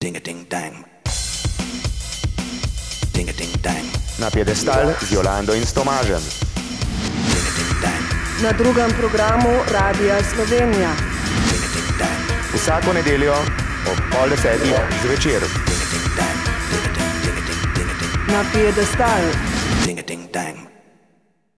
Ding a ding dang. Ding a ding dang. Na piedestal z Jolando in s Tomažem. Ding a ding dang. na drugem programu Radia Slovenija. Ding a ding dang. Vsako nedeljo ob pol desetih zvečer. Ding a ding dang. Ding a ding ding a ding ding a ding. Na piedestal Ding a ding dang.